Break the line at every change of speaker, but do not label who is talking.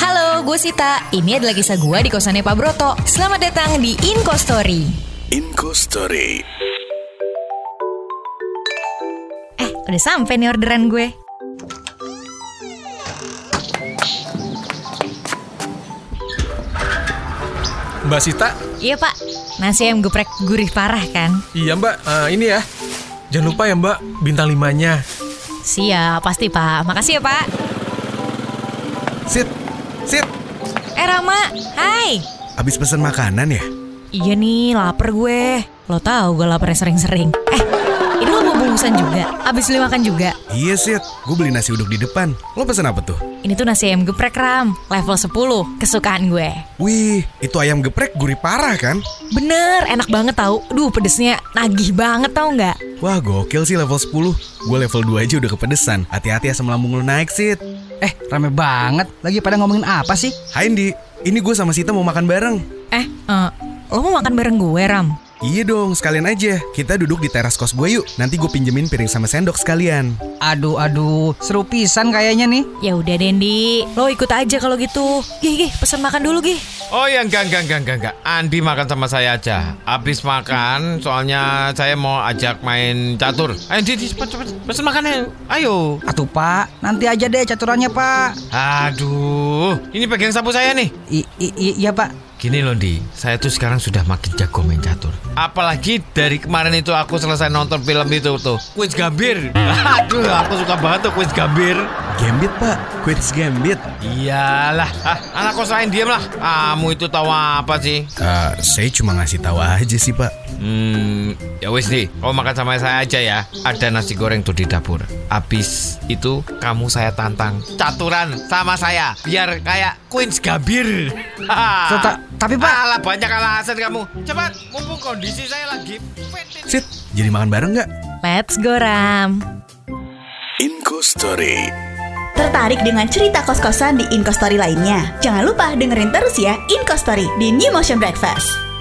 Halo, gue Sita. Ini adalah kisah gue di kosannya Pak Broto. Selamat datang di Inko Story.
Inco Story.
Eh, udah sampai nih orderan gue.
Mbak Sita,
Iya, Pak. Nasi ayam geprek gurih parah kan?
iya Mbak, Eh, ini ya. Jangan lupa ya Mbak, bintang limanya.
Siap, pasti, Pak. Makasih ya, Pak.
Sit, sit.
Eh, Rama. Hai.
Abis pesan makanan ya?
Iya nih, lapar gue. Lo tahu gue laparnya sering-sering. Eh, ini lo mau bungkusan juga? Abis beli makan juga?
Iya Sit, gue beli nasi uduk di depan. Lo pesan apa tuh?
Ini tuh nasi ayam geprek, Ram. Level 10. Kesukaan gue.
Wih, itu ayam geprek gurih parah kan?
Bener, enak banget tau. Duh, pedesnya nagih banget tau nggak?
Wah gokil sih level 10 Gue level 2 aja udah kepedesan Hati-hati asam lambung lu naik Sit
Eh, rame banget. Lagi pada ngomongin apa sih?
Hai Indi, ini gue sama Sita mau makan bareng
Eh, eh, lo mau makan bareng gue, Ram?
Iya dong, sekalian aja Kita duduk di teras kos gue yuk Nanti gue pinjemin piring sama sendok sekalian
Aduh, aduh, seru pisan kayaknya nih.
Ya udah, Dendi. Lo ikut aja kalau gitu. Gih, gih, pesan makan dulu, gih.
Oh ya enggak enggak enggak enggak enggak. Andi makan sama saya aja. Habis makan, soalnya saya mau ajak main catur. Ayo Andi, Andi, cepet cepet pesen makanan. Ayo.
Atuh, Pak. Nanti aja deh caturannya, Pak.
Aduh, ini pegang sapu saya nih.
I- i- i- iya, Pak.
Gini loh Di, saya tuh sekarang sudah makin jago main catur. Apalagi dari kemarin itu aku selesai nonton film itu tuh, Quiz Gambir. Aduh, aku suka banget tuh Quiz Gambir.
Gambit pak, quits gambit
Iyalah, ah, anak kos lain diam lah. Kamu itu tahu apa sih?
Eh, Saya cuma ngasih tahu aja sih pak
Hmm, ya wis nih, kamu makan sama saya aja ya. Ada nasi goreng tuh di dapur. Abis itu kamu saya tantang caturan sama saya, biar kayak Queens Gambir.
Tata- tapi, Pak-
Alah banyak alasan kamu. Cepat, mumpung kondisi saya lagi fit ini.
Sit, jadi makan bareng nggak?
Let's go, Ram.
Inco Story.
Tertarik dengan cerita kos-kosan di Inkostory lainnya? Jangan lupa dengerin terus ya Inkostory di New Motion Breakfast.